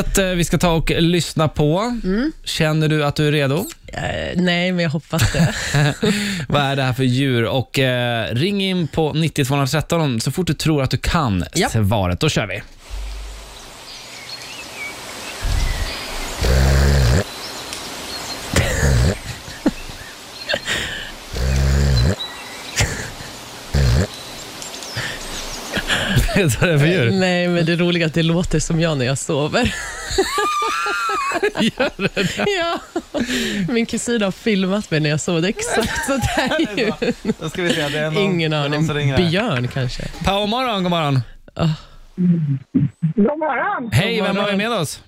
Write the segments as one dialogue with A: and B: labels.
A: Att, eh, Vi ska ta och lyssna på.
B: Mm.
A: Känner du att du är redo?
B: Eh, nej, men jag hoppas det.
A: Vad är det här för djur? Och eh, Ring in på 90 213 om- så fort du tror att du kan
B: Ja.
A: svaret. Då kör vi. Vet du vad det är för djur?
B: nej, men det roliga är att det låter som jag när jag sover. ja. Min kusin har filmat mig när jag sover. Det är exakt så där ju.
C: Då ska vi se, det är någon,
B: Ingen
C: det är någon
B: aning.
C: som ringer här.
B: Björn kanske?
A: Power morgon, god morgon.
D: God morgon!
A: Hej,
B: God
A: vem har vi
B: morgon.
A: med oss?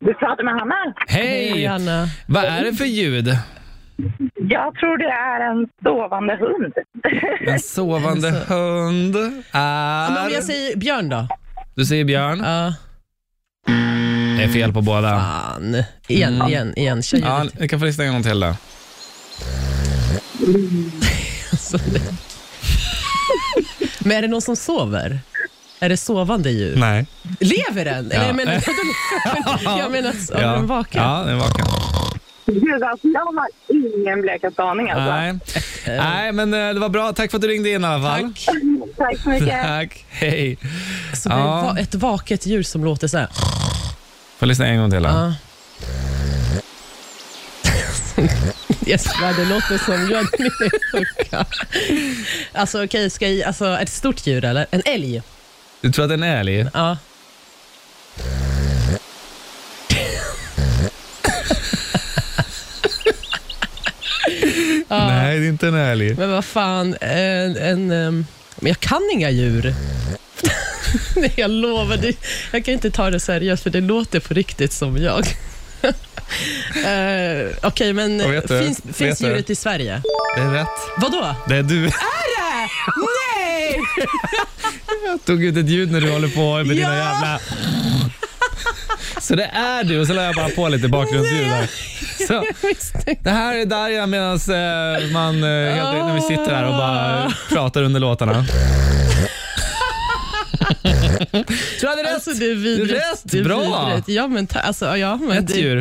D: Du pratar med Hanna.
A: Hej!
B: Anna.
A: Vad är det för ljud?
D: Jag tror det är en sovande hund.
A: En sovande hund
B: Men om jag
A: är...
B: säger Björn då?
A: Du säger björn.
B: Ja.
A: Det är fel på båda.
B: Fan. Igen, igen, igen. Kör
A: Mm. Ja,
B: ljudet.
A: ni kan få lyssna en gång till då.
B: Alltså, det- Men är det någon som sover? Är det sovande djur?
A: Nej.
B: Lever den? Eller
A: Ja.
B: jag menar, jag menar så- om den vaknar.
A: Ja, den vaknar.
D: Gud, alltså, jag har ingen blekaste aning alltså.
A: Nej. Nej, men eh, det var bra. Tack för att du ringde in i alla fall.
B: Tack.
D: Tack så mycket.
A: Tack. Hej.
B: Så Alltså, det är
A: Ja.
B: va- ett vaket djur som låter så här.
A: Får lyssna en gång till då.
B: Ja. Jesper, det låter som jag Alltså okej, ska jag, alltså, ett stort djur eller? En älg?
A: Du tror att den är älg?
B: Ja.
A: Nej, det är inte en älg.
B: Men vad fan, en, en, ehm, men jag kan inga djur. Nej, jag lovar, det, jag kan inte ta det seriöst för det låter på riktigt som jag. Eh, Okej, men
A: Vad vet du?
B: finns,
A: Vet
B: finns
A: du?
B: djuret i Sverige?
A: Det är rätt.
B: Vadå?
A: Det är du.
B: Nej!
A: Jag tog ut ett ljud när du håller på med dina
B: Ja!
A: jävla... Så det är du och så la jag bara på lite bakgrundsljud där. Så, det här är Darjan medan man eh, helt när vi sitter här och bara pratar under låtarna. Tror jag det är rätt?
B: Alltså det är vidrigt.
A: Rätt,
B: Det är
A: bra.
B: vidrigt. Ja, men, ta, alltså, ja, men
A: Ett
B: det,
A: djur.